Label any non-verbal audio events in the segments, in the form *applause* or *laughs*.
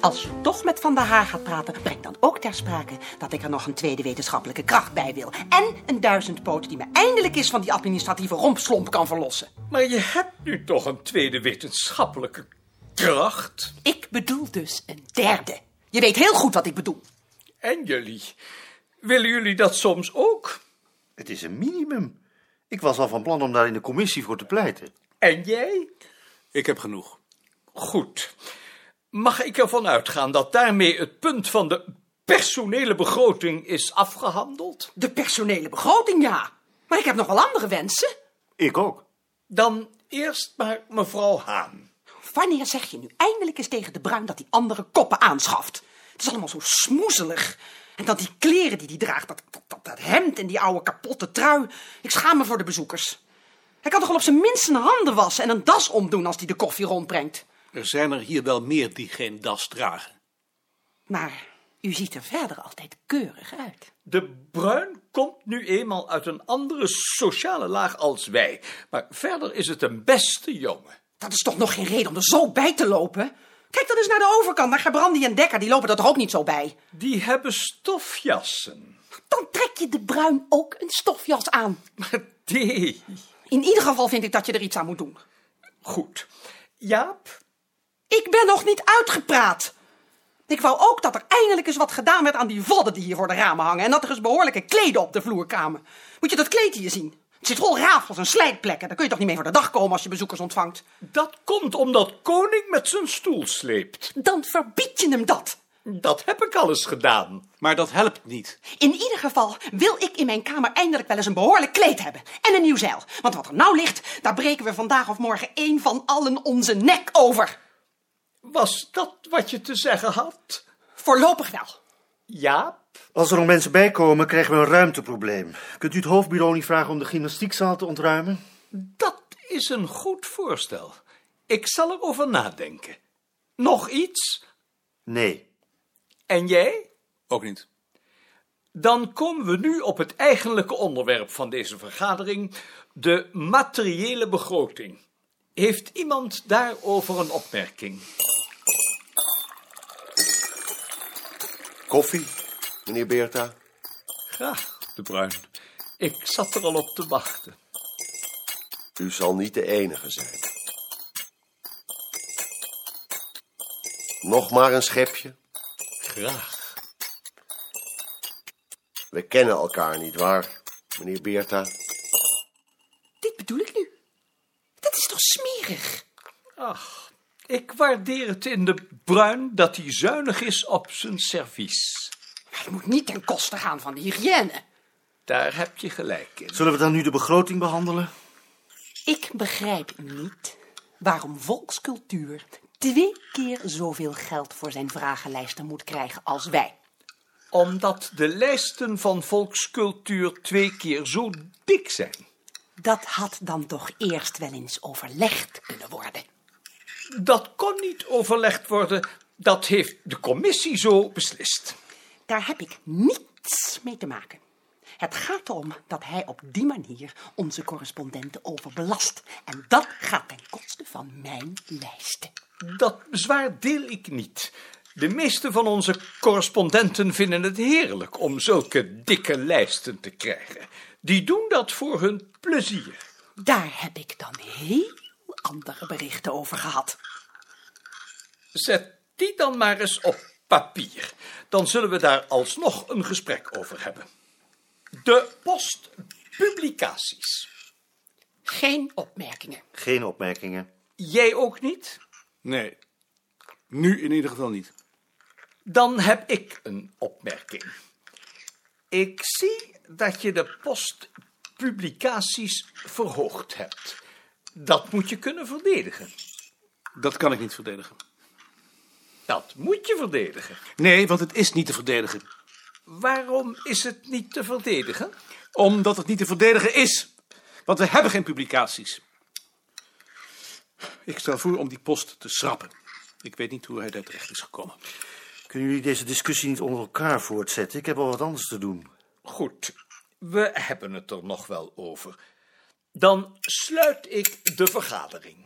Als je toch met Van der Haar gaat praten, breng dan ook ter sprake dat ik er nog een tweede wetenschappelijke kracht bij wil. En een duizendpoot die me eindelijk eens van die administratieve rompslomp kan verlossen. Maar je hebt nu toch een tweede wetenschappelijke kracht. Ik bedoel dus een derde. Je weet heel goed wat ik bedoel. En jullie. Willen jullie dat soms ook? Het is een minimum. Ik was al van plan om daar in de commissie voor te pleiten. En jij? Ik heb genoeg. Goed. Mag ik ervan uitgaan dat daarmee het punt van de personele begroting is afgehandeld? De personele begroting, ja. Maar ik heb nog wel andere wensen. Ik ook. Dan eerst maar mevrouw Haan. Wanneer zeg je nu eindelijk eens tegen de bruin dat hij andere koppen aanschaft? Het is allemaal zo smoezelig. En dat die kleren die hij draagt, dat, dat, dat, dat hemd en die oude kapotte trui. Ik schaam me voor de bezoekers. Hij kan toch wel op zijn minst zijn handen wassen en een das omdoen als hij de koffie rondbrengt. Er zijn er hier wel meer die geen das dragen. Maar u ziet er verder altijd keurig uit. De bruin komt nu eenmaal uit een andere sociale laag als wij. Maar verder is het een beste jongen. Dat is toch nog geen reden om er zo bij te lopen? Kijk dan eens naar de overkant, naar Gebrandi en Dekker, die lopen er toch ook niet zo bij? Die hebben stofjassen. Dan trek je de bruin ook een stofjas aan. Maar die... In ieder geval vind ik dat je er iets aan moet doen. Goed. Jaap, Ik ben nog niet uitgepraat. Ik wou ook dat er eindelijk eens wat gedaan werd aan die vodden die hier voor de ramen hangen. En dat er eens behoorlijke kleden op de vloer kwamen. Moet je dat kleed hier zien? Het zit vol rafels en slijtplekken. Daar kun je toch niet mee voor de dag komen als je bezoekers ontvangt? dat komt omdat koning met zijn stoel sleept. Dan verbied je hem dat. Dat heb ik al eens gedaan. Maar dat helpt niet. In ieder geval wil ik in mijn kamer eindelijk wel eens een behoorlijk kleed hebben. En een nieuw zeil. Want wat er nou ligt, daar breken we vandaag of morgen één van allen onze nek over. Was dat wat je te zeggen had? Voorlopig wel. Jaap? Als er nog mensen bij komen, krijgen we een ruimteprobleem. Kunt u het hoofdbureau niet vragen om de gymnastiekzaal te ontruimen? Dat is een goed voorstel. Ik zal erover nadenken. Nog iets? Nee. En jij? Ook niet. Dan komen we nu op het eigenlijke onderwerp van deze vergadering: de materiële begroting. Heeft iemand daarover een opmerking? Koffie, meneer Beerta. Graag, de Bruin. Ik zat er al op te wachten. U zal niet de enige zijn. Nog maar een schepje. Graag. We kennen elkaar niet waar, meneer Beerta. Dit bedoel ik nu. Dat is toch smerig? Ach, ik waardeer het in de Bruin dat hij zuinig is op zijn servies. Maar het moet niet ten koste gaan van de hygiëne. Daar heb je gelijk in. Zullen we dan nu de begroting behandelen? Ik begrijp niet waarom volkscultuur twee keer zoveel geld voor zijn vragenlijsten moet krijgen als wij. Omdat de lijsten van volkscultuur twee keer zo dik zijn. Dat had dan toch eerst wel eens overlegd kunnen worden. Dat kon niet overlegd worden. Dat heeft de commissie zo beslist. Daar heb ik niets mee te maken. Het gaat erom dat hij op die manier onze correspondenten overbelast. En dat gaat ten koste van mijn lijsten. Dat bezwaar deel ik niet. De meeste van onze correspondenten vinden het heerlijk om zulke dikke lijsten te krijgen. Die doen dat voor hun plezier. Daar heb ik dan heel andere berichten over gehad. Zet die dan maar eens op papier. Dan zullen we daar alsnog een gesprek over hebben. De postpublicaties. Geen opmerkingen. Geen opmerkingen. Jij ook niet? Nee. Nu in ieder geval niet. Dan heb ik een opmerking. Ik zie dat je de postpublicaties verhoogd hebt. Dat moet je kunnen verdedigen. Dat kan ik niet verdedigen. Dat moet je verdedigen. Nee, want het is niet te verdedigen. Waarom is het niet te verdedigen? Omdat het niet te verdedigen is. Want we hebben geen publicaties. Ik stel voor om die post te schrappen. Ik weet niet hoe hij daar terecht is gekomen. Kunnen jullie deze discussie niet onder elkaar voortzetten? Ik heb al wat anders te doen. Goed, we hebben het er nog wel over. Dan sluit ik de vergadering.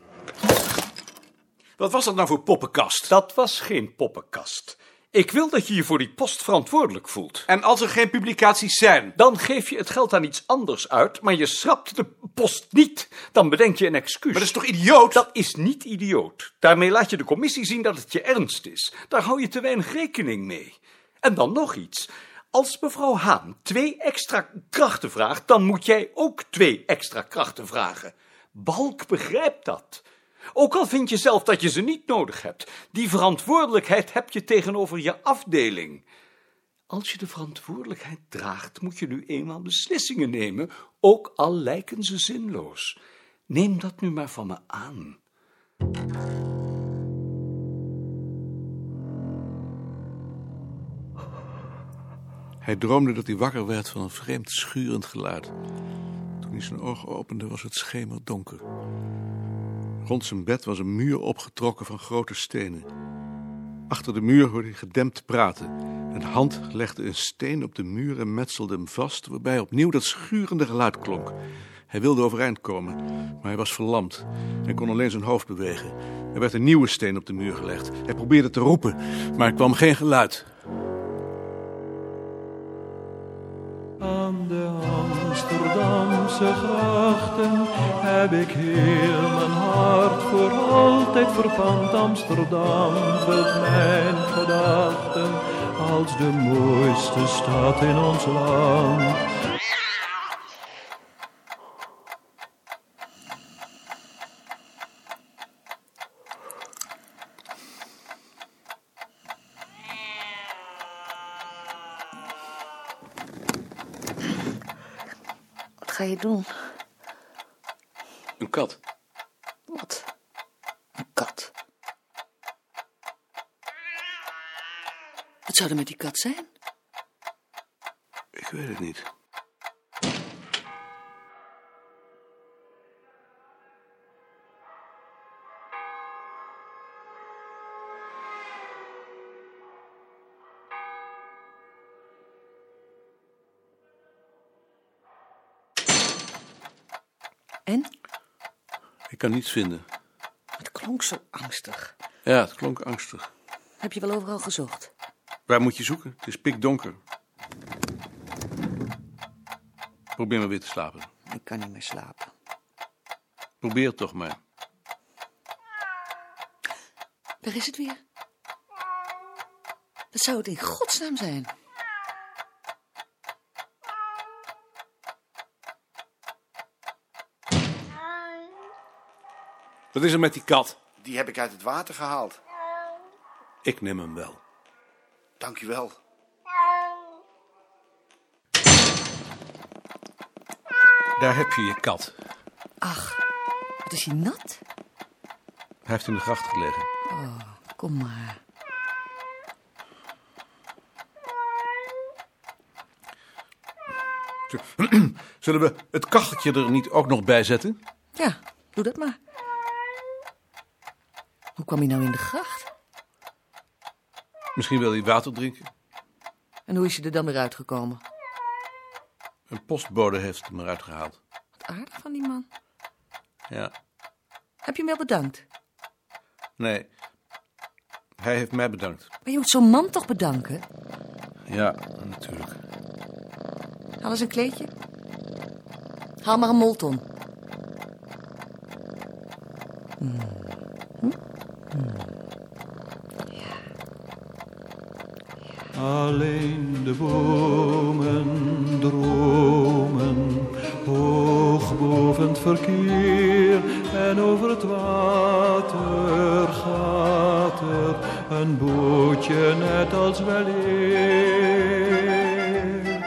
Wat was dat nou voor poppenkast? Dat was geen poppenkast. Ik wil dat je je voor die post verantwoordelijk voelt. En als er geen publicaties zijn? Dan geef je het geld aan iets anders uit, maar je schrapt de post niet. Dan bedenk je een Maar excuus. dat is toch idioot? Oh, Dat is niet idioot. Daarmee laat je de commissie zien dat het je ernst is. Daar hou je te weinig rekening mee. En dan nog iets. Als mevrouw Haan twee extra krachten vraagt, dan moet jij ook twee extra krachten vragen. Balk begrijpt dat. Ook al vind je zelf dat je ze niet nodig hebt, die verantwoordelijkheid heb je tegenover je afdeling. Als je de verantwoordelijkheid draagt, moet je nu eenmaal beslissingen nemen, ook al lijken ze zinloos. Neem dat nu maar van me aan. Hij droomde dat hij wakker werd van een vreemd schurend geluid. Toen hij zijn ogen opende was het schemerdonker. Rond zijn bed was een muur opgetrokken van grote stenen. Achter de muur hoorde hij gedempt praten. Een hand legde een steen op de muur en metselde hem vast, waarbij opnieuw dat schurende geluid klonk. Hij wilde overeind komen, maar hij was verlamd en kon alleen zijn hoofd bewegen. Er werd een nieuwe steen op de muur gelegd. Hij probeerde te roepen, maar er kwam geen geluid. Aan de Amsterdamse grachten heb ik heel mijn hart voor altijd verpand. Amsterdam vult mijn gedachten als de mooiste stad in ons land. Wat ga je doen? Een kat. Wat? Een kat. Wat zou er met die kat zijn? Ik weet het niet. En? Ik kan niets vinden. Het klonk zo angstig. Ja, het klonk angstig. Heb je wel overal gezocht? Waar moet je zoeken? Het is pikdonker. Probeer maar weer te slapen. Ik kan niet meer slapen. Probeer het toch maar. Waar is het weer? Wat zou het in godsnaam zijn? Wat is er met die kat? Die heb ik uit het water gehaald. Ik neem hem wel. Dankjewel. Daar heb je je kat. Ach, wat is hij nat? Hij heeft in de gracht gelegen. Kom maar. Zullen we het kacheltje er niet ook nog bij zetten? Ja, doe dat maar. Hoe kwam hij nou in de gracht? Misschien wil hij water drinken. En hoe is hij er dan weer uitgekomen? Een postbode heeft hem eruit gehaald. Wat aardig van die man. Ja, Heb je hem wel bedankt? nee. Hij heeft mij bedankt. Maar je moet zo'n man toch bedanken? Ja, natuurlijk. Haal eens een kleedje. Haal maar een molton. Mm. Hm? Mm. Alleen de bomen dromen, hoog boven het verkeer en over het water gaat er een bootje net als wel eer.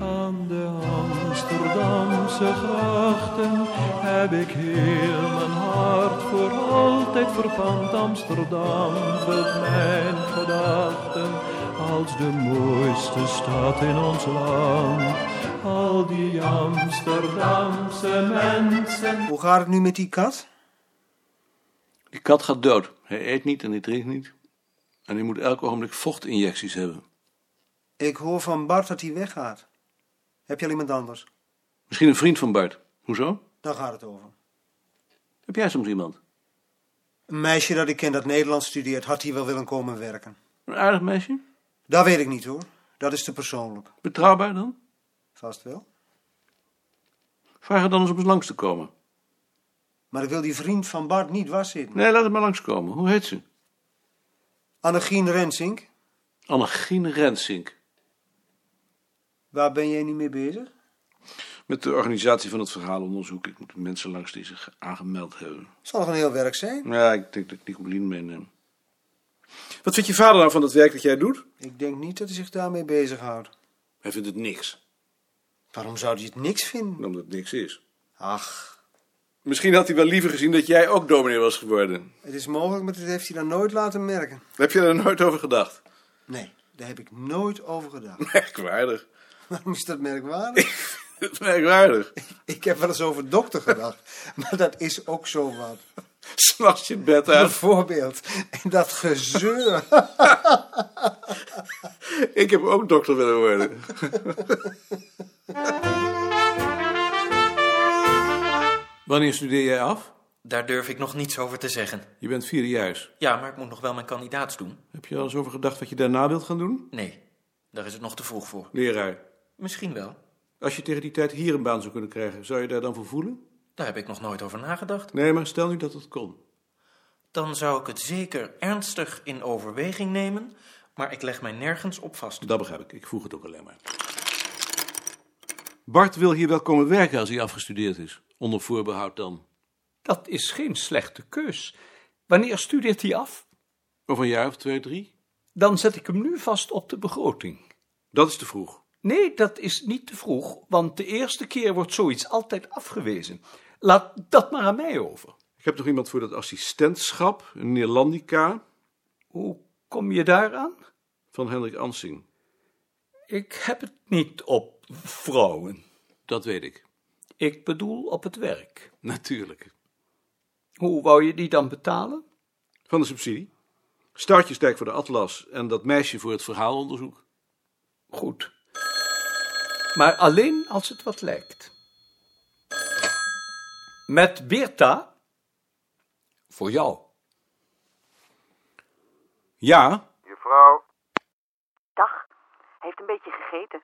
Aan de Amsterdamse grachten heb ik heel mijn hart voor altijd verpand. Amsterdam vult mijn gedachten als de mooiste stad in ons land. Al die Amsterdamse mensen. Hoe gaat het nu met die kat? Die kat gaat dood. Hij eet niet en hij drinkt niet. En hij moet elk ogenblik vochtinjecties hebben. Ik hoor van Bart dat hij weggaat. Heb je al iemand anders? Misschien een vriend van Bart. Hoezo? Daar gaat het over. Heb jij soms iemand? Een meisje dat ik ken dat Nederlands studeert, had hier wel willen komen werken. Een aardig meisje? Dat weet ik niet hoor. Dat is te persoonlijk. Betrouwbaar dan? Vast wel. Vraag haar dan eens om eens langs te komen. Maar ik wil die vriend van Bart niet waszitten. Nee, laat het maar langskomen. Hoe heet ze? Annegien Rensink, Annegien Rensink. waar ben jij niet mee bezig? Met de organisatie van het verhaalonderzoek. Ik moet de mensen langs die zich aangemeld hebben. Zal nog een heel werk zijn? Ja, ik denk dat ik Nicoline meeneem. Wat vindt je vader nou van het werk dat jij doet? Ik denk niet dat hij zich daarmee bezighoudt. Hij vindt het niks. Waarom zou hij het niks vinden? Omdat het niks is. Ach, Misschien had hij wel liever gezien dat jij ook dominee was geworden. het is mogelijk, maar dat heeft hij dan nooit laten merken. Heb je er nooit over gedacht? Nee, daar heb ik nooit over *laughs* gedacht. Merkwaardig. *laughs* Waarom is dat merkwaardig? Dat is *laughs* merkwaardig. *laughs* ik heb wel eens over dokter gedacht, *laughs* maar dat is ook zo wat. S'nachts je bed uit. Bijvoorbeeld, en dat gezeur. *laughs* Ik heb ook dokter willen *laughs* worden. Wanneer studeer jij af? Daar durf ik nog niets over te zeggen. Je bent vierdejaars. Ja, maar ik moet nog wel mijn kandidaats doen. Heb je al eens over gedacht wat je daarna wilt gaan doen? Nee, daar is het nog te vroeg voor. Leraar. Misschien wel. Als je tegen die tijd hier een baan zou kunnen krijgen, zou je daar dan voor voelen? Daar heb ik nog nooit over nagedacht. Nee, maar stel nu dat het kon. Dan zou ik het zeker ernstig in overweging nemen, maar ik leg mij nergens op vast. Dat begrijp ik. Ik vroeg het ook alleen maar. Bart wil hier wel komen werken als hij afgestudeerd is. Onder voorbehoud dan. Dat is geen slechte keus. Wanneer studeert hij af? Over een jaar of twee, drie? Dan zet ik hem nu vast op de begroting. Dat is te vroeg. Nee, dat is niet te vroeg, want de eerste keer wordt zoiets altijd afgewezen. Laat dat maar aan mij over. Ik heb nog iemand voor dat assistentschap, een Neerlandica, Hoe kom je daaraan? van Hendrik Ansing. Ik heb het niet op vrouwen. Dat weet ik. Ik bedoel op het werk. Natuurlijk. Hoe wou je die dan betalen? Van de subsidie. Stoutjesdijk voor de atlas en dat meisje voor het verhaalonderzoek. Goed. Maar alleen als het wat lijkt. Met Beerta? Voor jou. Ja? Dag. Hij heeft een beetje gegeten.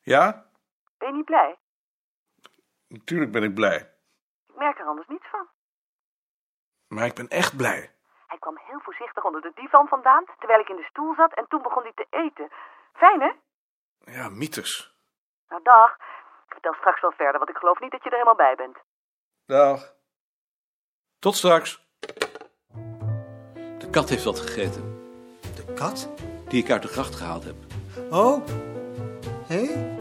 Ja? Ben je niet blij? Natuurlijk ben ik blij. Ik merk er anders niets van. Maar ik ben echt blij. Hij kwam heel voorzichtig onder de divan vandaan, terwijl ik in de stoel zat en toen begon hij te eten. Fijn, hè? Ja, mythes. Nou, dag. Ik vertel straks wel verder, want ik geloof niet dat je er helemaal bij bent. Dag. Tot straks. De kat heeft wat gegeten, De kat? die ik uit de gracht gehaald heb. Oh, hé?